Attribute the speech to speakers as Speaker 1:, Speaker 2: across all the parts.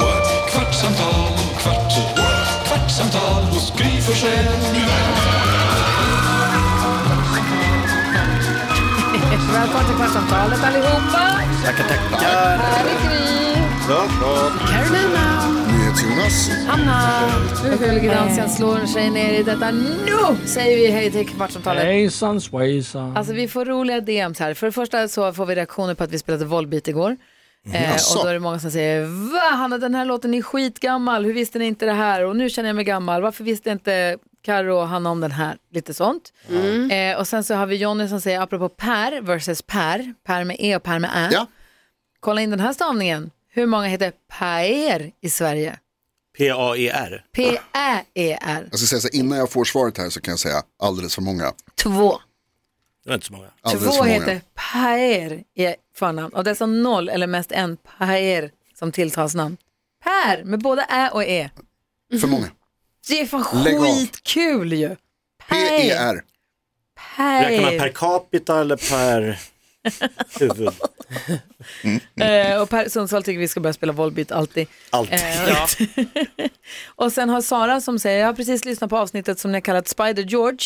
Speaker 1: what? kvartsamtal, kvart, what? kvartsamtal hos Gry Forssell med vänner.
Speaker 2: Välkommen till Kvartsamtalet allihopa! Här är Gry,
Speaker 3: NyhetsJonas.
Speaker 2: Hanna, Hulgedansen slår sig ner i detta. Nu säger vi hej till Kvartsamtalet.
Speaker 4: Hejsan svejsan.
Speaker 2: Alltså vi får roliga DMs här. För det första så får vi reaktioner på att vi spelade Volbeat igår. Eh, och då är det många som säger Va Hanna den här låten är skitgammal, hur visste ni inte det här? Och nu känner jag mig gammal, varför visste inte Karo och Hanna om den här? Lite sånt. Eh, och sen så har vi Jonny som säger apropå Per versus Per, Per med E och Per med Ä.
Speaker 3: Ja.
Speaker 2: Kolla in den här stavningen, hur många heter Per i Sverige? E
Speaker 5: P-A-E-R.
Speaker 2: P-Ä-E-R,
Speaker 6: Jag ska säga så här, innan jag får svaret här så kan jag säga alldeles för många.
Speaker 2: två.
Speaker 5: Det var inte så många.
Speaker 6: Alldeles
Speaker 2: Två
Speaker 6: för många.
Speaker 2: heter Paer i förnamn och dessa noll eller mest en Paer som tilltalsnamn. Per med både ä och e.
Speaker 6: För många.
Speaker 2: Det är fan
Speaker 6: Lägg av. E
Speaker 2: skitkul ju. Per.
Speaker 6: P-E-R.
Speaker 5: Räknar man
Speaker 2: Per.
Speaker 5: per capita eller per huvud?
Speaker 2: Eh, och Per Sundsvall tycker vi ska börja spela Volbeat alltid.
Speaker 5: Alltid.
Speaker 2: Eh, och sen har Sara som säger, jag har precis lyssnat på avsnittet som ni har kallat Spider George.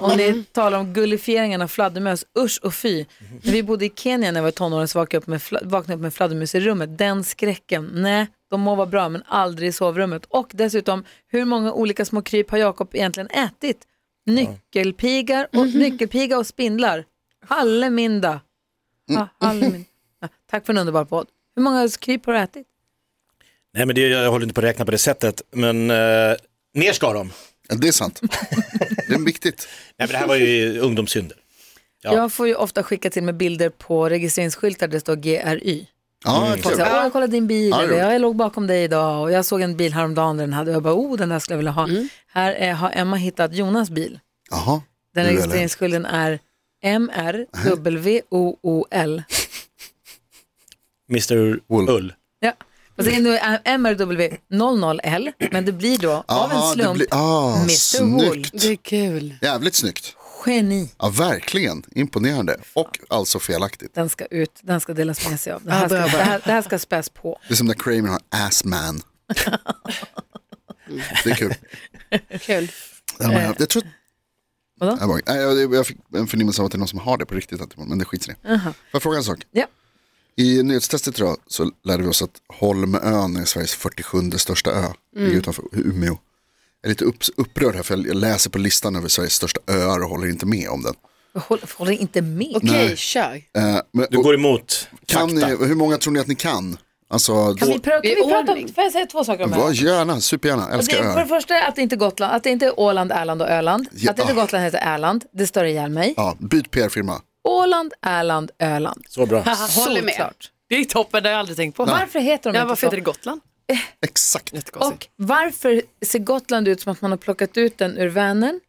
Speaker 2: Och ni talar om gullifieringen av fladdermöss, usch och fy. När vi bodde i Kenya när jag var tonåring så vaknade jag upp med, fla- vaknade upp med fladdermus i rummet. Den skräcken, nej, de må vara bra men aldrig i sovrummet. Och dessutom, hur många olika små kryp har Jakob egentligen ätit? Nyckelpigar och, nyckelpiga och spindlar. Halleminda. Ja, halleminda. Ja, Tack för en underbar podd. Hur många kryp har du ätit?
Speaker 5: Nej men det, jag håller inte på att räkna på det sättet. Men eh, ner ska de. Nej
Speaker 6: Ja, Det är sant. Det är viktigt.
Speaker 5: men det här var ju ungdomssynder. Ja.
Speaker 2: Jag får ju ofta skicka till mig bilder på registreringsskyltar där det står GRY.
Speaker 6: Ja,
Speaker 2: Folk
Speaker 6: kul.
Speaker 2: säger, Åh, Mm. jag kollade din bil,
Speaker 6: Ja,
Speaker 2: eller
Speaker 6: jo.
Speaker 2: jag låg bakom dig idag och jag såg en bil häromdagen där den hade och jag bara, oh den här skulle jag vilja ha.
Speaker 6: Mm.
Speaker 2: Här eh, har Emma hittat Jonas bil.
Speaker 6: Jaha.
Speaker 2: Den
Speaker 6: Nu är det.
Speaker 2: registreringsskylten är MRWOOL.
Speaker 5: Mr. Ull.
Speaker 6: Ull.
Speaker 2: Ja. Och sen är det MRW00L, men det blir då av en
Speaker 6: Jaha, det
Speaker 2: slump
Speaker 6: blir- ah,
Speaker 2: Mr. Wool.
Speaker 6: snyggt.
Speaker 7: Det är kul.
Speaker 6: Jävligt snyggt.
Speaker 2: Geni.
Speaker 6: Ja, verkligen. Imponerande. Och alltså felaktigt.
Speaker 2: Den ska ut, den ska delas med sig av. Det här ska, det
Speaker 7: bra, bra.
Speaker 2: här, det här ska späs på.
Speaker 6: Det är som när Kramer har assman. Det är kul.
Speaker 7: kul.
Speaker 6: Ja, men Jag jag tror...
Speaker 2: Eh, Vadå?
Speaker 6: Jag, bara, nej, jag, jag fick en förnimmelse av att det är någon som har det på riktigt, att- men det skits i det. Får jag fråga en sak?
Speaker 2: Ja.
Speaker 6: I nyhetstestet idag så lärde vi oss att Holmön är Sveriges 47 största ö.
Speaker 2: Mm.
Speaker 6: Ligger utanför Umeå. Jag är lite upp, upprörd här för jag läser på listan över Sveriges största öar och håller inte med om den.
Speaker 2: Håll, håll inte med.
Speaker 7: Okej,
Speaker 6: Nej.
Speaker 7: kör.
Speaker 6: Eh, men,
Speaker 5: Du
Speaker 6: och,
Speaker 5: går emot
Speaker 6: kan ni,
Speaker 5: fakta.
Speaker 6: hur många tror ni att ni kan? Alltså,
Speaker 2: Kan vi, prö- kan
Speaker 7: Det är
Speaker 2: vi prata om,
Speaker 7: ordning.
Speaker 2: får jag säga två saker om det? här?
Speaker 6: vad gärna, supergärna,
Speaker 2: Och Det,
Speaker 6: älskar
Speaker 2: är för det
Speaker 6: öar.
Speaker 2: första att det inte är Gotland, att det inte är Åland, Erland och Öland.
Speaker 6: Ja.
Speaker 2: Att det inte är Gotland heter Erland, det stör ihjäl mig.
Speaker 6: Ja, byt PR-firma.
Speaker 2: Åland, Erland, Öland.
Speaker 5: Så bra.
Speaker 7: Håller med.
Speaker 2: Solklart.
Speaker 7: Det är toppen, det har jag aldrig tänkt på.
Speaker 2: Varför heter de
Speaker 7: Ja,
Speaker 2: inte
Speaker 7: varför
Speaker 2: så?
Speaker 7: heter det Gotland?
Speaker 6: Exakt.
Speaker 7: Jättekonstigt.
Speaker 2: Och varför ser Gotland ut som att man har plockat ut den ur Vänern?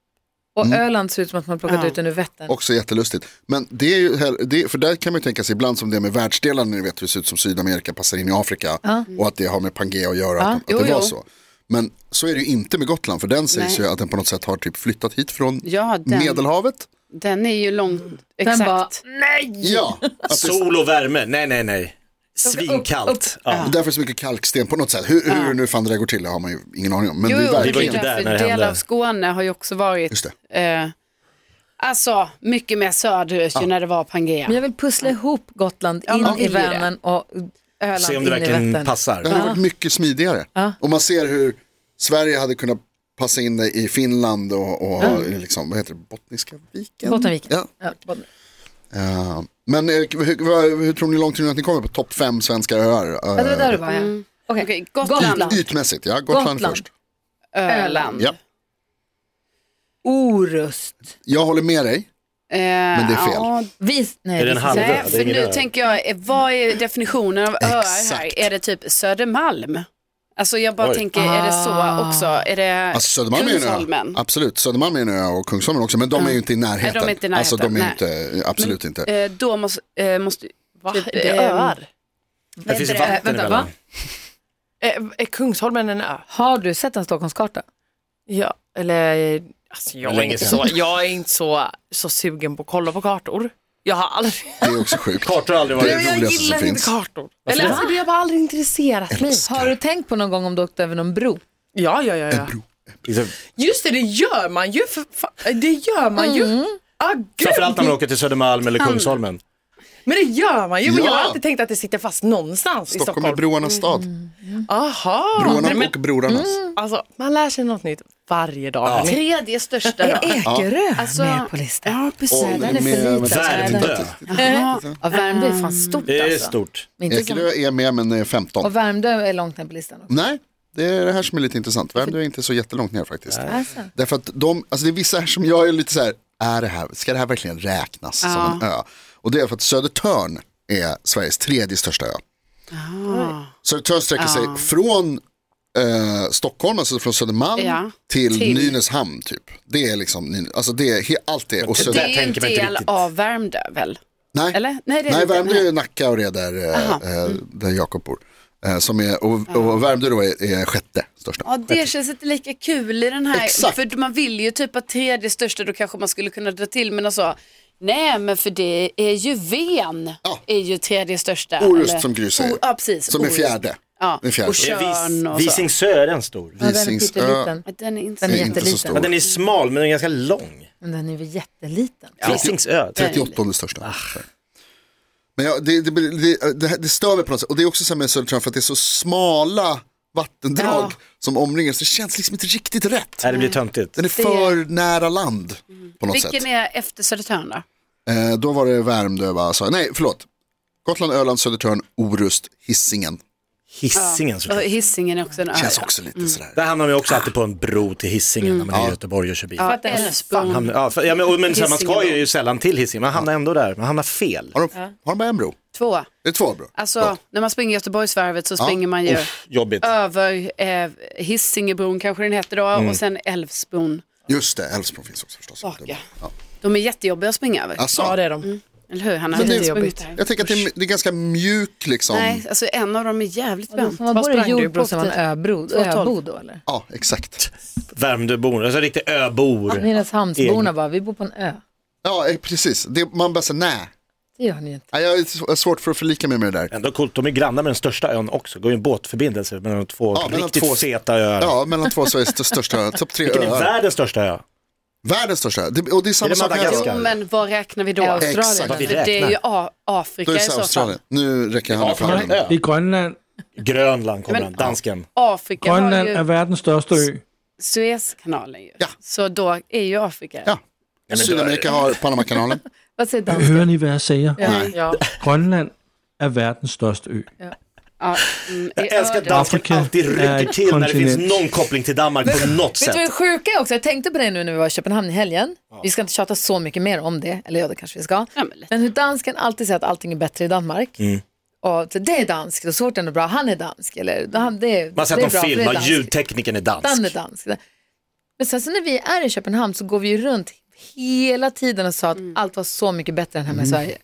Speaker 2: Och
Speaker 5: Mm.
Speaker 2: Öland ser ut som att man har plockat
Speaker 7: Ja.
Speaker 2: ut den ur Vättern.
Speaker 6: Också jättelustigt. Men det är ju, hell- det, för där kan man ju tänka sig ibland som det är med världsdelar när ni vet hur det ser ut som Sydamerika passar in i Afrika och att det har med Pangea att göra, att, de-
Speaker 7: Jo,
Speaker 6: att det var
Speaker 7: jo.
Speaker 6: så. Men så är det ju inte med Gotland för den sägs
Speaker 7: Nej.
Speaker 6: ju att den på något sätt har typ flyttat hit från
Speaker 7: Ja, den,
Speaker 6: Medelhavet.
Speaker 7: den är ju lång.
Speaker 2: Den
Speaker 7: Exakt.
Speaker 2: bara-
Speaker 6: Ja, att det,
Speaker 5: Sol och värme. Nej, nej, nej.
Speaker 2: Upp,
Speaker 5: Svinkallt.
Speaker 2: upp.
Speaker 5: Ja.
Speaker 6: därför är det så mycket kalksten på något sätt. Hur, hur nu fan det där går till det har man ju ingen aning om. Men
Speaker 7: Jo,
Speaker 6: det
Speaker 7: jo,
Speaker 6: är
Speaker 5: Vi var
Speaker 6: verkligen,
Speaker 5: inte där när det
Speaker 7: del
Speaker 5: hände.
Speaker 7: av Skåne har ju också varit,
Speaker 6: Just
Speaker 7: Eh, alltså mycket mer söderut ju när det var Pangea.
Speaker 2: Men jag vill pussla ihop Gotland in
Speaker 7: man
Speaker 2: i
Speaker 7: vill ju det.
Speaker 2: Vänern och Öland
Speaker 5: Se om
Speaker 2: in
Speaker 5: det
Speaker 2: i
Speaker 5: verkligen
Speaker 2: Vättern.
Speaker 6: det
Speaker 5: passar.
Speaker 6: hade varit mycket smidigare. Och man ser hur Sverige hade kunnat passa in det i Finland och, och liksom, vad heter det, Bottniska viken?
Speaker 2: Bottenviken.
Speaker 6: Ja.
Speaker 2: Ja, Botten.
Speaker 6: Ja, men eh, hur, vad- hur tror ni hur långt tror ni att ni kommer på topp fem svenska öar?
Speaker 2: Ja, det var
Speaker 6: Eh,
Speaker 2: där du var ja. Okej.
Speaker 7: Mm. Okej, Gotland,
Speaker 2: Gotland.
Speaker 6: Ytmässigt, ja. Gotland,
Speaker 2: Gotland.
Speaker 6: först.
Speaker 7: Öland.
Speaker 6: Ja.
Speaker 2: Orust.
Speaker 6: Jag håller med dig.
Speaker 7: Men
Speaker 6: det är fel.
Speaker 7: Eh, Ja,
Speaker 2: Vis, nej,
Speaker 5: Är det en
Speaker 2: vis-
Speaker 5: halv?
Speaker 2: nej.
Speaker 5: Halvö,
Speaker 7: nej,
Speaker 5: det är
Speaker 7: för
Speaker 5: ingen
Speaker 7: nu
Speaker 5: ö.
Speaker 7: tänker jag, eh, vad är definitionen av öar
Speaker 6: Exakt.
Speaker 7: här? Är det typ Södermalm? Alltså jag bara
Speaker 5: Oj.
Speaker 7: tänker, är det
Speaker 4: Ah.
Speaker 7: så också? Är det
Speaker 6: Alltså Södermalm är ju en ö.
Speaker 7: Kungsholmen?
Speaker 6: Absolut, Södermalm är en ö och Kungsholmen också. Men de är ju inte i närheten.
Speaker 7: Nej, de är inte i närheten,
Speaker 6: Alltså de är
Speaker 7: nej.
Speaker 6: inte, absolut inte.
Speaker 7: Eh, då måste, eh, måste
Speaker 4: Va?
Speaker 7: Typ,
Speaker 4: är det
Speaker 7: ehm,
Speaker 4: öar?
Speaker 5: Det finns ju
Speaker 2: Vänta,
Speaker 5: vatten
Speaker 2: vänta,
Speaker 5: emellan.
Speaker 2: va?
Speaker 4: Eh, Är Kungsholmen en ö?
Speaker 2: Har du sett en Stockholmskarta?
Speaker 4: Ja, eller alltså jag, är
Speaker 5: Länge
Speaker 4: inte
Speaker 5: sedan.
Speaker 4: så, jag är inte så, så sugen på att kolla på kartor. Jag har aldrig,
Speaker 6: Det är också sjukt.
Speaker 5: Kartor har aldrig
Speaker 6: Det
Speaker 5: varit...
Speaker 6: är det
Speaker 4: jag
Speaker 6: roligaste som
Speaker 4: gillar inte
Speaker 6: finns.
Speaker 4: kartor. Eller alltså, det har bara aldrig intresserat mig.
Speaker 2: Har du tänkt på någon gång om du åkte över någon bro?
Speaker 4: Ja, ja, ja. ja.
Speaker 5: Liksom,
Speaker 4: Just det, det gör man ju. För fa- det gör man ju. Ah,
Speaker 5: Framförallt när man
Speaker 4: gud.
Speaker 5: åker till Södermalm eller Kungsholmen.
Speaker 4: Men det gör man ju. Men jag har
Speaker 6: Ja.
Speaker 4: alltid tänkt att det sitter fast någonstans i
Speaker 6: Stockholm är
Speaker 4: Stockholm.
Speaker 6: broarnas stad.
Speaker 7: Mm.
Speaker 4: Aha. Nej,
Speaker 6: Broarna
Speaker 4: men,
Speaker 6: och brorarnas.
Speaker 4: alltså, man lär sig något nytt varje dag. hörni.
Speaker 7: tredje största då?
Speaker 2: Ekerö
Speaker 7: Alltså-
Speaker 2: med på listan.
Speaker 7: Ja, precis.
Speaker 6: Åh,
Speaker 7: Den
Speaker 6: den
Speaker 7: är
Speaker 6: är
Speaker 7: för
Speaker 6: med,
Speaker 7: liten.
Speaker 5: men- Värmdö.
Speaker 7: Jaha. Ja, Värmdö är fan stort
Speaker 5: Det är
Speaker 7: alltså.
Speaker 5: stort.
Speaker 2: Inte så-
Speaker 6: Ekerö är med men är 15.
Speaker 2: Och Värmdö är långt ner på listan. också.
Speaker 6: Nej, det är det här som är lite intressant. Värmdö är inte så jättelångt ner faktiskt.
Speaker 2: Alltså.
Speaker 6: Därför att de, alltså det är vissa här som jag är lite så här, är det här, ska det här verkligen räknas som en ö? Och det är för att Södertörn är Sveriges tredje största ö.
Speaker 7: Ah.
Speaker 6: Södertörn sträcker sig från eh, Stockholm, alltså från Södermalm,
Speaker 7: Ja.
Speaker 6: till,
Speaker 7: Till-
Speaker 6: Nynäshamn typ. Det är liksom, Nyn- alltså det är he- allt det. Och
Speaker 7: Alltså, Det
Speaker 6: Söder,
Speaker 7: är ju en
Speaker 5: tänker man inte
Speaker 7: del
Speaker 5: riktigt.
Speaker 7: av Värmdö väl?
Speaker 6: nej,
Speaker 7: Eller? Nej, det är
Speaker 6: nej
Speaker 7: inte.
Speaker 6: Värmdö är Nacka och det är där, eh, eh, där Jakob bor. Eh, som är, och, och Värmdö då är, är sjätte största.
Speaker 7: Ja, det känns inte lika kul i den här.
Speaker 6: Exakt.
Speaker 7: För man vill ju typ att tredje största, då kanske man skulle kunna dra till. Men alltså, nej men för det är ju Ven,
Speaker 6: Ja.
Speaker 7: är ju tredje största.
Speaker 6: Orust
Speaker 7: eller-
Speaker 6: som Gry säger.
Speaker 7: O- Ja, precis.
Speaker 6: Som är
Speaker 7: Orust.
Speaker 6: fjärde.
Speaker 7: Ja.
Speaker 6: Den fjärde.
Speaker 7: Och
Speaker 5: Är
Speaker 7: Tjörn
Speaker 5: Vis-
Speaker 7: och så.
Speaker 5: Visingsö är den stor.
Speaker 2: Ja, den är
Speaker 6: Visings-
Speaker 2: pytteliten.
Speaker 7: Den är inte
Speaker 2: Den
Speaker 6: är
Speaker 2: är
Speaker 7: så
Speaker 6: inte så
Speaker 2: jätteliten.
Speaker 6: stor.
Speaker 5: Ja, den är smal men den är ganska lång.
Speaker 2: Men den är väl jätteliten.
Speaker 5: Visingsö.
Speaker 6: 38 största. Men ja, det, det, det, det, här- det stör mig på något sätt. Och det är också så här med Södertörn för att det är så smala vattendrag som omringar. Så det känns liksom inte riktigt rätt.
Speaker 5: Nej, det blir töntigt.
Speaker 6: Den är för nära land på något
Speaker 7: Vilken
Speaker 6: sätt.
Speaker 7: är efter Södertörn då?
Speaker 6: Eh, då var det Värmdö, va? Så, nej förlåt. Gotland, Öland, Södertörn, Orust, Hisingen.
Speaker 5: Hissingen
Speaker 7: Och
Speaker 5: såklart.
Speaker 7: Hisingen är också en ö.
Speaker 6: Känns också lite
Speaker 7: Mm.
Speaker 6: sådär.
Speaker 5: Där hamnar man ju också alltid på en bro till Hisingen när man är i Göteborg och kör bil.
Speaker 7: Ja, Älvsbron.
Speaker 5: Hamnar, ja, för, ja, men, och- men så här, man ska
Speaker 7: Hisingen
Speaker 5: ju sällan till Hisingen, man hamnar ändå där, man hamnar fel.
Speaker 6: Har de, har de bara en bro?
Speaker 7: Två.
Speaker 6: Det är två bro.
Speaker 7: Alltså,
Speaker 6: Förlåt.
Speaker 7: när man springer Göteborgsvarvet så springer man ju
Speaker 5: Uff, jobbigt.
Speaker 7: över eh, Hisingebron kanske den heter då
Speaker 6: Mm.
Speaker 7: och sen Älvsbron.
Speaker 6: Just det, Älvsbron finns också förstås.
Speaker 7: Bak, ja.
Speaker 6: Ja.
Speaker 7: De är jättejobbiga att springa över.
Speaker 6: Alltså,
Speaker 4: Ja, det är de.
Speaker 7: Eller hur Hanna?
Speaker 6: Men det är
Speaker 7: Har du sprungit
Speaker 4: jobbigt.
Speaker 7: där?
Speaker 6: Jag tänker att det är, det är ganska mjuk liksom.
Speaker 7: Nej, alltså en av dem är jävligt bränd.
Speaker 2: Om
Speaker 4: Vad
Speaker 2: man bor i
Speaker 4: sprang du
Speaker 2: Jordbro
Speaker 4: på
Speaker 2: så är man
Speaker 4: för
Speaker 2: öbro, öbo då eller?
Speaker 6: Ja, exakt.
Speaker 5: Värmdöbor, alltså riktigt öbor.
Speaker 2: Nynäshamnsborna bara, vi bor på en ö.
Speaker 6: Ja, eh, precis. Det, man bara säger nej.
Speaker 2: Det gör ni inte.
Speaker 6: Nej, Jag är s- jag har svårt för att förlika mig med det där.
Speaker 5: Ändå coolt, de är grannar med den största ön också, går ju en båtförbindelse mellan de två
Speaker 6: Ja, mellan
Speaker 5: riktigt
Speaker 6: två-
Speaker 5: feta öar.
Speaker 6: Ja, mellan två Sveriges st- största, topp tre
Speaker 5: Vilken är
Speaker 6: öar.
Speaker 5: världens största ö?
Speaker 6: Världens största. Det, och det är samma
Speaker 5: Är det
Speaker 6: sak här.
Speaker 5: Madagaskar?
Speaker 7: Jo, men vad räknar vi då?
Speaker 2: Ja, Australien.
Speaker 6: Exakt.
Speaker 5: Vi
Speaker 7: För det är ju
Speaker 5: räknar.
Speaker 7: A- Afrika
Speaker 6: Då är
Speaker 7: i
Speaker 6: det
Speaker 7: så fall.
Speaker 6: Australien. Nu räcker han fram handen.
Speaker 5: Ja.
Speaker 8: I Grønland.
Speaker 5: Grönland kommer
Speaker 7: Men-
Speaker 5: den, dansken.
Speaker 7: Afrika har
Speaker 8: Grønland er
Speaker 7: ju
Speaker 8: verdens största ø.
Speaker 7: Suezkanalen ju.
Speaker 6: Ja.
Speaker 7: Så då är ju Afrika.
Speaker 6: Ja.
Speaker 5: men då-
Speaker 6: Sydamerika har Panamakanalen.
Speaker 2: Vad säger dansken?
Speaker 8: Hører ni, hvad jeg siger?
Speaker 6: Nej.
Speaker 4: Ja.
Speaker 8: Grønland er verdens største ø.
Speaker 7: Ja, mm, i
Speaker 5: Jag älskar
Speaker 7: öden.
Speaker 5: att dansken
Speaker 8: Afrika
Speaker 5: alltid
Speaker 8: är
Speaker 5: rycker till när det finns
Speaker 8: kontinent.
Speaker 5: någon koppling till Danmark på något
Speaker 2: Vet du vad det
Speaker 5: sätt.
Speaker 2: sjuka är också? Jag tänkte på det nu när vi var i Köpenhamn i helgen. Vi ska inte tjata så mycket mer om det, eller ja det kanske vi ska.
Speaker 7: Ja, men lite.
Speaker 2: Men hur dansken alltid säger att allting är bättre i Danmark. Och så, det är dansk, och så fort den är bra, han är dansk. Eller, han, det är,
Speaker 5: Man har
Speaker 2: det är
Speaker 5: sett
Speaker 2: bra,
Speaker 5: någon
Speaker 2: för det är
Speaker 5: film,
Speaker 2: dansk.
Speaker 5: ljudtekniken är
Speaker 2: Dan är
Speaker 5: dansk.
Speaker 2: dansk. Men sen så när vi är i Köpenhamn så går vi ju runt hela tiden och sa att allt var så mycket bättre än hemma i Sverige.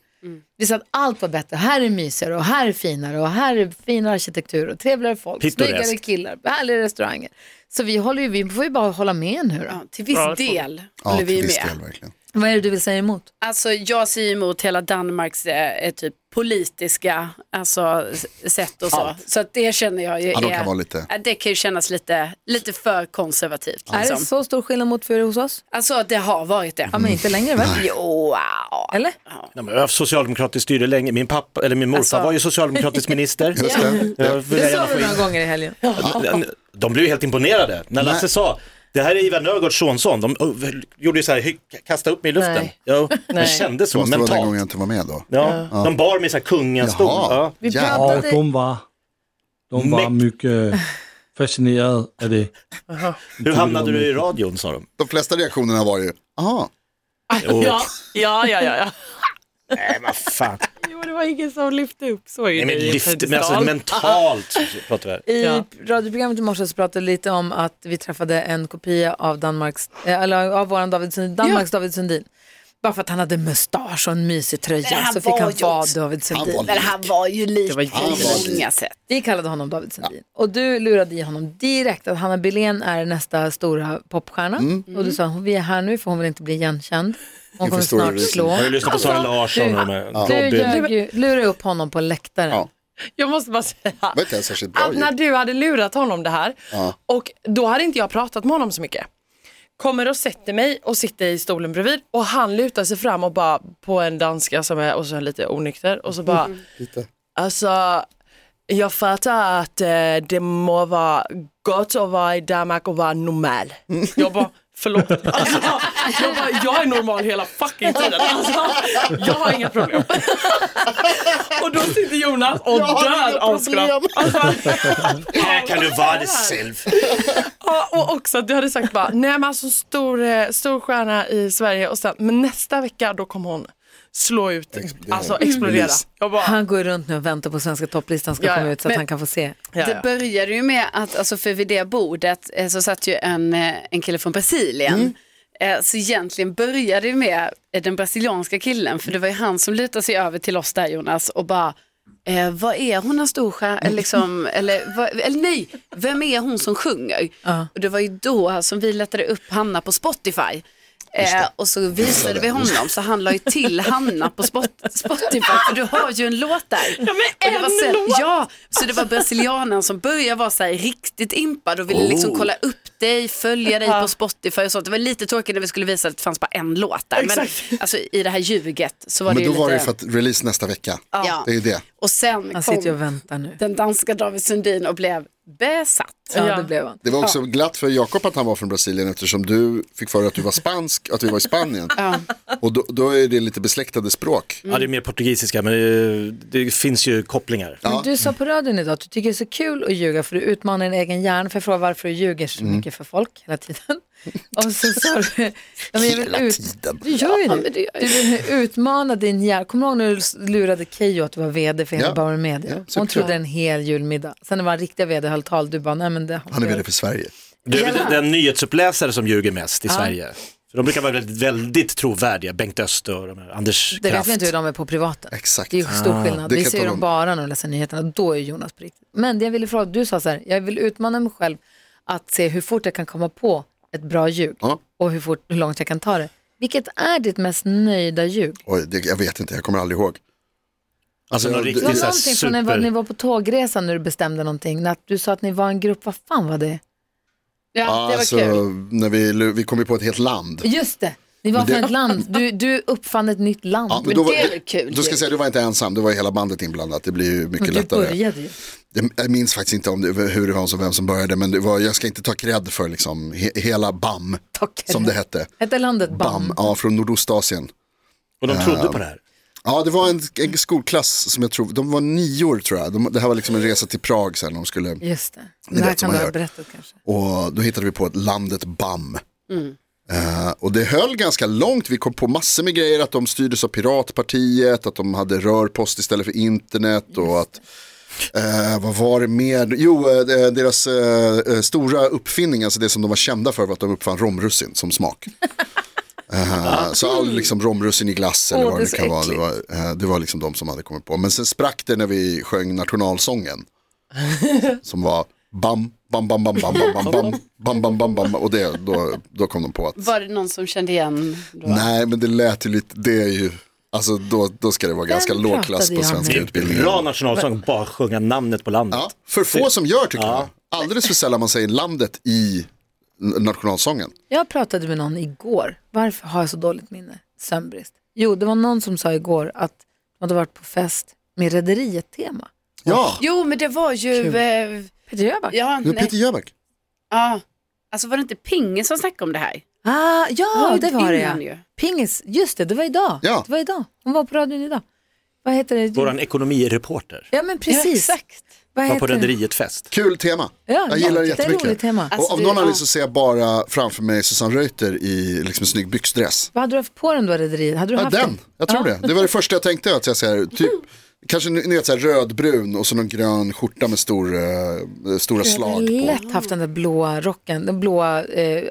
Speaker 2: Vi sa att allt var bättre, här är mysigare och här är finare och här är finare arkitektur och trevligare folk,
Speaker 5: Pittoreskt.
Speaker 2: snyggare killar, härligare restauranger. Så vi, håller ju, vi får ju bara hålla med nu då.
Speaker 7: Ja, till viss del
Speaker 6: Ja,
Speaker 7: håller
Speaker 6: till
Speaker 7: vi
Speaker 6: viss
Speaker 7: med.
Speaker 6: del verkligen.
Speaker 2: Vad är det du vill säga emot?
Speaker 7: Alltså jag ser emot hela Danmarks eh, eh, typ politiska alltså, s- sätt och så. Så att det känner jag ju
Speaker 6: Ja, de
Speaker 7: är,
Speaker 6: kan vara lite-
Speaker 7: Ja, det kan ju kännas lite, lite för konservativt.
Speaker 2: Är
Speaker 7: Liksom.
Speaker 2: det så stor skillnad mot för er hos oss?
Speaker 7: Alltså det har varit det.
Speaker 2: Ja, men inte längre väl?
Speaker 7: Jo, wow.
Speaker 2: Eller?
Speaker 5: Ja, men Jag har haft socialdemokratiskt styre länge, min pappa, eller min morfar
Speaker 7: Alltså-
Speaker 5: var ju socialdemokratisk minister.
Speaker 6: Just det.
Speaker 5: Jag vill
Speaker 2: Det
Speaker 5: gärna
Speaker 2: sa
Speaker 5: få
Speaker 2: vi
Speaker 5: in-
Speaker 2: några gånger i helgen.
Speaker 5: De- De blev ju helt imponerade när Lasse
Speaker 6: Nej.
Speaker 5: sa det här är Ivar Nörgårds sonson. De oh, gjorde ju så här, hy- kasta upp mig i luften.
Speaker 2: Nej.
Speaker 5: Jo,
Speaker 4: Nej.
Speaker 5: det kändes
Speaker 6: Det
Speaker 5: så
Speaker 6: måste vara den gången
Speaker 5: mentalt.
Speaker 6: jag inte var med då.
Speaker 5: Ja, De bar mig så här kungens stol. Ja.
Speaker 6: Jaha,
Speaker 2: Vi
Speaker 6: ja.
Speaker 2: pratar-
Speaker 8: Og de var, de var
Speaker 5: Mægt.
Speaker 8: mycket fascineret af det.
Speaker 5: Hur hamnade du i radion sa de.
Speaker 6: De flesta reaktionerna var ju, jaha,
Speaker 5: Och,
Speaker 4: Ja, ja, ja, ja. ja.
Speaker 5: Nej, men fan.
Speaker 4: Jo, det var ingen som lyfte upp. Så är
Speaker 5: Nej,
Speaker 4: det
Speaker 5: men
Speaker 4: i en
Speaker 5: lyft, men
Speaker 4: pedestal.
Speaker 5: alltså mentalt pratar vi här.
Speaker 2: I
Speaker 4: Ja.
Speaker 2: radioprogrammet i morse så pratade vi lite om att vi träffade en kopia av Danmarks, eh, eller av våran David Sundin, Danmarks David Sundin. Bara för att han hade mustasch och en mysig tröja så fick han vara David Sundin.
Speaker 7: Men han var ju lik
Speaker 4: Det var
Speaker 7: på
Speaker 4: jävligt.
Speaker 7: många sätt.
Speaker 2: Vi kallade honom David Sundin. Och du lurade i honom direkt att Hanna Billén är nästa stora popstjärna. Och du sa hon vi är här nu för hon vill inte bli igenkänd. Hon
Speaker 6: Inför
Speaker 2: kommer
Speaker 6: stora
Speaker 2: snart
Speaker 6: releasen.
Speaker 2: slå.
Speaker 5: Har du lyssnat på Sara Larsson och de här?
Speaker 2: Du ljög
Speaker 5: Robin?
Speaker 2: ju, lurade upp honom på läktaren.
Speaker 6: Ja.
Speaker 4: Jag måste bara säga.
Speaker 6: var inte ens särskilt bra
Speaker 4: att när
Speaker 6: ljud.
Speaker 4: du hade lurat honom det här
Speaker 6: Ja.
Speaker 4: och då hade inte jag pratat med honom så mycket. Kommer och sätter mig och sitter i stolen bredvid och han lutar sig fram och bara på en danska som är och så är han lite onykter och så bara
Speaker 6: Lite.
Speaker 4: alltså jag fattar att eh, det må vara gott att vara i Danmark och vara normal. Jag bara förlåt. Alltså, jag, bara, jag är normal hela fucking tiden. Alltså, jag har inga problem. Och då sitter Jonas och dör av skratt. Alltså,
Speaker 5: Här kan du vara dig själv.
Speaker 4: Ja, och också att du hade sagt bara, nej men alltså stor, eh, stor stjärna i Sverige och sen, men nästa vecka då kommer hon slå ut,
Speaker 6: Explodera.
Speaker 4: alltså explodera.
Speaker 6: Release.
Speaker 4: Jag bara,
Speaker 2: Han går runt nu och väntar på svenska topplistan ska
Speaker 4: Ja, ja.
Speaker 2: komma ut så att
Speaker 7: Men-
Speaker 2: han kan få se.
Speaker 4: ja,
Speaker 7: Det
Speaker 4: ja.
Speaker 7: började ju med att, alltså för vid det bordet eh, så satt ju en, eh, en kille från
Speaker 4: Mm.
Speaker 7: Brasilien. Eh, Så egentligen började det med eh, den brasilianska killen, för det var ju han som lutade sig över till oss där Jonas och bara, eh, vad är hon en stor stjärna? Eller, liksom, eller, vad, eller nej, vem är hon som sjunger? Och det var ju då som vi letade upp Hanna på Spotify. Eh, och så visade vi honom, så han la ju till Hanna på Spot- Spotify, för du har ju en låt där. Ja,
Speaker 4: men en låt!
Speaker 7: Ja, så det var brasilianen som började vara så här riktigt impad och ville
Speaker 6: Oh.
Speaker 7: liksom kolla upp dig, följa dig på Spotify och sånt. Det var lite tråkigt när vi skulle visa att det fanns bara en låt där. Men alltså, i det här ljuget så var
Speaker 6: Men
Speaker 7: det ju
Speaker 6: då var det
Speaker 7: lite...
Speaker 6: ju för att release nästa vecka.
Speaker 7: Ja.
Speaker 6: Det är ju det.
Speaker 7: Och sen
Speaker 2: Han sitter ju och
Speaker 7: kom
Speaker 2: väntar nu.
Speaker 7: den danska David Sundin och blev besatt.
Speaker 2: Ja, det blev han.
Speaker 6: Det var också glatt för Jakob att han var från Brasilien eftersom du fick för dig att du var spansk, att vi var i Spanien. Och då, då är det lite besläktade språk.
Speaker 5: Ja, det är mer portugisiska, men det, det finns ju kopplingar.
Speaker 2: Men du sa på radion idag att du tycker det är så kul att ljuga för du utmanar din egen hjärna. För jag frågar varför du ljuger så
Speaker 6: Mm.
Speaker 2: mycket för folk hela tiden. Och så sa du... Ja, men jag vill
Speaker 6: Hela
Speaker 2: ut,
Speaker 6: tiden.
Speaker 2: Du gör ju
Speaker 7: Ja,
Speaker 2: det.
Speaker 7: men det gör
Speaker 2: Du vill utmana din hjärna. Kommer du ihåg när du lurade Keyyo att du var vd för hela
Speaker 6: Ja.
Speaker 2: Bauer Media?
Speaker 6: Ja,
Speaker 2: Hon
Speaker 6: superkul.
Speaker 2: trodde en hel julmiddag. Sen när det var riktiga vd höll tal, du bara, nej men det har
Speaker 6: Han är
Speaker 2: inte
Speaker 6: vd för Sverige.
Speaker 5: Du är väl den nyhetsuppläsare som ljuger mest i Sverige. För de brukar vara väldigt, väldigt trovärdiga, Bengt Öster och de här, Anders
Speaker 2: Det vet
Speaker 5: Kraft.
Speaker 2: vi inte hur de är på privaten.
Speaker 6: Exakt. Ah,
Speaker 2: Det är ju stor skillnad.
Speaker 6: det
Speaker 2: Vi
Speaker 6: kan
Speaker 2: ser
Speaker 6: ta
Speaker 2: dem
Speaker 6: dem.
Speaker 2: bara när de läser nyheterna. Då är Jonas på riktigt. Men det jag ville fråga, du sa så här, jag vill utmana mig själv att se hur fort jag kan komma på ett bra ljug
Speaker 6: Ja.
Speaker 2: och hur, fort, hur långt jag kan ta det. Vilket är ditt mest nöjda ljug?
Speaker 6: Oj, det, jag vet inte, jag kommer aldrig ihåg.
Speaker 5: Alltså någon
Speaker 6: Det-
Speaker 2: Det var
Speaker 5: riktig så här
Speaker 2: någonting från när ni var- ni
Speaker 5: super...
Speaker 2: var på tågresan när du bestämde någonting. När att du sa att ni var en grupp, vad fan var det?
Speaker 7: Ja, det var
Speaker 6: alltså,
Speaker 7: kul.
Speaker 6: När vi, vi kom ju på ett helt land.
Speaker 2: Just det, ni var
Speaker 6: Men det-
Speaker 2: från ett land. Du, du uppfann ett nytt land.
Speaker 6: Ja,
Speaker 2: men
Speaker 6: då var,
Speaker 7: det är väl kul,
Speaker 6: Då ska
Speaker 7: ju.
Speaker 6: jag säga, du var inte ensam, det var ju hela bandet inblandat. Det blir ju mycket
Speaker 2: du
Speaker 6: lättare.
Speaker 2: började ju.
Speaker 6: Det- Jag minns faktiskt inte om det, hur det var som vem som började, men det var, jag ska inte ta cred för liksom, he, hela BAM,
Speaker 2: Ta cred. Mm.
Speaker 6: som det hette.
Speaker 2: Hette landet
Speaker 6: BAM,
Speaker 2: BAM?
Speaker 6: ja, från Nordostasien.
Speaker 5: Och de trodde på det här.
Speaker 6: Ja, det var en, en skolklass som jag tror, de var nio år tror jag. De, det här var liksom en resa till Prag sen, de skulle,
Speaker 2: Just det.
Speaker 6: vet
Speaker 2: Det här
Speaker 6: som
Speaker 2: kan
Speaker 6: man
Speaker 2: du ha
Speaker 6: gör.
Speaker 2: berättat kanske.
Speaker 6: och då hittade vi på ett landet BAM. Eh, och det höll ganska långt, vi kom på massor med grejer, att de styrdes av Piratpartiet, att de hade rörpost istället för internet och att Eh, vad var det mer? Jo, eh, deras eh, eh, stora uppfinning, alltså det som de var kända för var att de uppfann romrussin som smak. Eh, så all liksom, romrussin i glass eller
Speaker 2: Ah, Åh,
Speaker 6: vad
Speaker 2: det
Speaker 6: det,
Speaker 2: är så
Speaker 6: kan vara. Det var, eh, det var liksom de som hade kommit på. Men sen sprack det när vi sjöng nationalsången. som var bam, bam, bam, bam, bam, bam, bam, bam, bam, bam, bam, bam. Och det, då, då kom de på att
Speaker 7: Var det någon som kände igen då?
Speaker 6: nej, men det lät ju lite, det är ju, alltså då, då ska det vara ganska
Speaker 2: Den
Speaker 6: låg klass
Speaker 2: pratade
Speaker 6: på
Speaker 2: jag
Speaker 6: svenska
Speaker 2: med.
Speaker 6: utbildningen.
Speaker 5: Bra nationalsång, bara sjunga namnet på landet.
Speaker 6: Ja, för få som gör tycker jag. Alldeles för sällan man säger landet i n- nationalsången.
Speaker 2: Jag pratade med någon igår. Varför har jag så dåligt minne? Sömnbrist. Jo, det var någon som sa igår att de hade varit på fest med Rederiet-tema.
Speaker 6: Ja,
Speaker 7: Jo, men det var ju...
Speaker 2: Kul.
Speaker 7: Eh,
Speaker 2: Peter Jöback?
Speaker 7: ja,
Speaker 6: det är
Speaker 7: nej,
Speaker 6: Peter Jöback.
Speaker 7: ja. Alltså var det inte Pinge som snackade om det här?
Speaker 2: Ah, ja,
Speaker 7: Vad
Speaker 2: det var det
Speaker 7: innan
Speaker 2: ja.
Speaker 7: ju.
Speaker 2: Pingis, just det, det var idag.
Speaker 6: Ja.
Speaker 2: Det var idag. Hon var på radion idag. Vad heter det?
Speaker 5: Våran ekonomireporter.
Speaker 2: Ja, men precis.
Speaker 7: Ja, exakt.
Speaker 2: Vad Vad
Speaker 5: Var på
Speaker 2: heter det?
Speaker 5: Rederiet-fest.
Speaker 6: Kul tema.
Speaker 2: Ja,
Speaker 6: jag gillar det
Speaker 2: jätte- roligt
Speaker 6: jättemycket.
Speaker 2: tema.
Speaker 6: Och
Speaker 7: Alltså,
Speaker 6: av
Speaker 7: du-
Speaker 6: någon
Speaker 7: ja.
Speaker 6: anledning så ser jag bara framför mig Susanne Reuter i liksom en snygg byxdress.
Speaker 2: Vad hade du haft på den då, rederiet? Hade du
Speaker 6: Ja,
Speaker 2: haft
Speaker 6: den, jag tror
Speaker 2: Ja.
Speaker 6: det. Det var det första jag tänkte att jag ser typ Kanske ni vet så här rödbrun och så någon grön skjorta med stor, eh, stora
Speaker 2: Jag hade
Speaker 6: slag på.
Speaker 2: lätt haft den där blåa rocken, den blåa eh,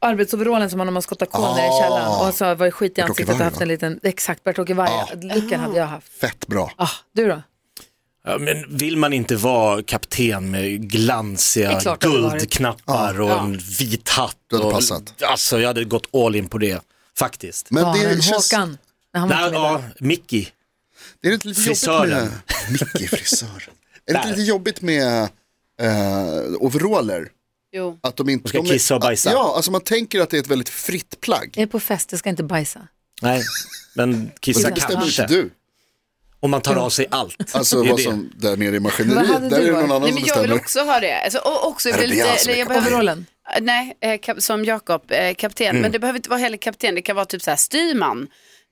Speaker 2: arbetsoverallen som man har när man skottar kol nere i källaren. Och så var det skit i
Speaker 6: Bert-Åke
Speaker 2: ansiktet och
Speaker 6: Varg,
Speaker 2: haft
Speaker 6: Ah. va? Ah.
Speaker 2: en liten, exakt, Bert-Åke Varg-looken hade jag haft.
Speaker 6: Fett bra.
Speaker 2: Ah, du då?
Speaker 5: Ja, men vill man inte vara kapten med
Speaker 2: Det
Speaker 5: glansiga
Speaker 2: är klart det hade varit.
Speaker 5: guldknappar och en vit hatt?
Speaker 6: Du hade
Speaker 5: och,
Speaker 6: passat.
Speaker 5: Alltså jag hade gått all in på det, faktiskt.
Speaker 6: Men
Speaker 2: Galen
Speaker 6: det känns,
Speaker 2: Håkan. När han var
Speaker 5: Där,
Speaker 2: på middag.
Speaker 5: ja, Mickey.
Speaker 6: det är inte lite
Speaker 5: Frisören.
Speaker 6: jobbigt med... Micke frisören. är det inte
Speaker 5: Där.
Speaker 6: lite jobbigt med eh, overaller?
Speaker 7: Jo.
Speaker 6: Att de inte...
Speaker 5: ska
Speaker 6: de
Speaker 5: kissa och bajsa.
Speaker 6: Ja, alltså man tänker att det är ett väldigt fritt plagg.
Speaker 2: Är på fest, det ska inte bajsa.
Speaker 5: Nej, men
Speaker 6: Men
Speaker 5: kissa
Speaker 6: sen bestämmer inte
Speaker 5: kanske.
Speaker 6: du.
Speaker 5: Om man tar av sig allt.
Speaker 6: Alltså
Speaker 5: det är
Speaker 6: vad
Speaker 5: det.
Speaker 6: som, där nere i
Speaker 2: Vad
Speaker 6: maskineriet,
Speaker 2: hade
Speaker 6: där
Speaker 2: du
Speaker 6: är det någon
Speaker 2: varit?
Speaker 6: annan
Speaker 7: Nej,
Speaker 6: som
Speaker 7: men jag vill
Speaker 6: bestämmer.
Speaker 7: också ha det. Alltså, och också,
Speaker 6: det
Speaker 7: jag
Speaker 6: är
Speaker 7: blir lite,
Speaker 6: jag som är
Speaker 7: jag
Speaker 6: kapten.
Speaker 7: behöver,
Speaker 2: Overallen.
Speaker 7: nej, eh, kap, som Jakob, eh, kapten. Men det behöver inte vara heller kapten, det kan vara typ så här styrman.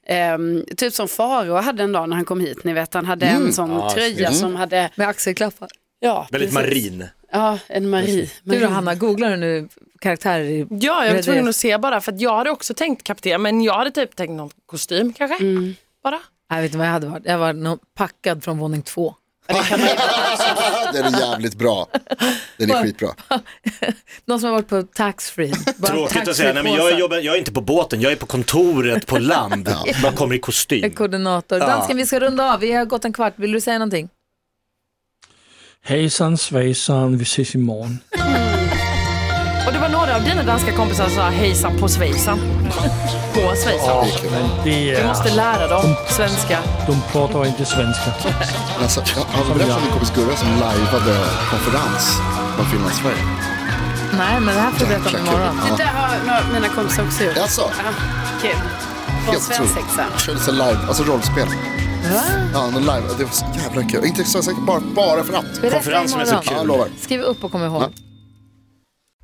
Speaker 7: Ehm, typ som Faro hade en dag när han kom hit, ni vet han hade en sån tröja som hade,
Speaker 2: Med axelklaffar.
Speaker 7: ja, precis.
Speaker 5: Väldigt marin.
Speaker 7: Ja, en Marie.
Speaker 2: Du
Speaker 7: Marie.
Speaker 2: då Hanna, googlar du nu karaktärer i
Speaker 4: Ja, jag var
Speaker 2: Rederiet?
Speaker 4: tvungen att se bara för att jag hade också tänkt kapten men jag hade typ tänkt någon kostym kanske. Bara.
Speaker 2: Mm. Jag vet inte vad jag hade varit. Jag var nog packad från våning två.
Speaker 6: Den är jävligt bra. Den är skitbra.
Speaker 2: Någon som har varit på taxfree. Bara
Speaker 5: Tråkigt att
Speaker 2: taxfree
Speaker 5: säga, nej, men jag,
Speaker 2: påsar.
Speaker 5: jobbar, jag är inte på båten, jag är på kontoret på land. Man kommer i kostym.
Speaker 2: En koordinator. Dansken, vi ska runda av. Vi har gått en kvart. Vill du säga någonting?
Speaker 8: Hejsan svejsan, vi ses imorgon.
Speaker 4: Och det var några av dina danska kompisar som sa hejsan på svejsan. På svejsan.
Speaker 8: Men det
Speaker 4: Du
Speaker 8: är...
Speaker 4: måste lära dem svenska.
Speaker 8: De pratar inte svenska.
Speaker 6: Men Alltså, jag har berättat om min kompis Gurra som lajvade konferens från Finland-Sverige.
Speaker 2: Nej, men det här får du berätta om
Speaker 6: Jäkla kul.
Speaker 2: imorgon.
Speaker 7: Det där har några av mina kompisar också gjort.
Speaker 6: Jaså?
Speaker 7: Ja, kul. Från
Speaker 6: Helt otroligt.
Speaker 7: svensexan.
Speaker 6: Körde sig live, alltså rollspel.
Speaker 2: Va?
Speaker 6: Ja, någon live. Det var så jävla kul. Inte så säkert, bara, bara för att.
Speaker 2: Berätta
Speaker 5: Konferensen är så
Speaker 2: imorgon.
Speaker 6: Ja, jag lovar.
Speaker 2: Skriv upp och kom ihåg.
Speaker 6: Ja.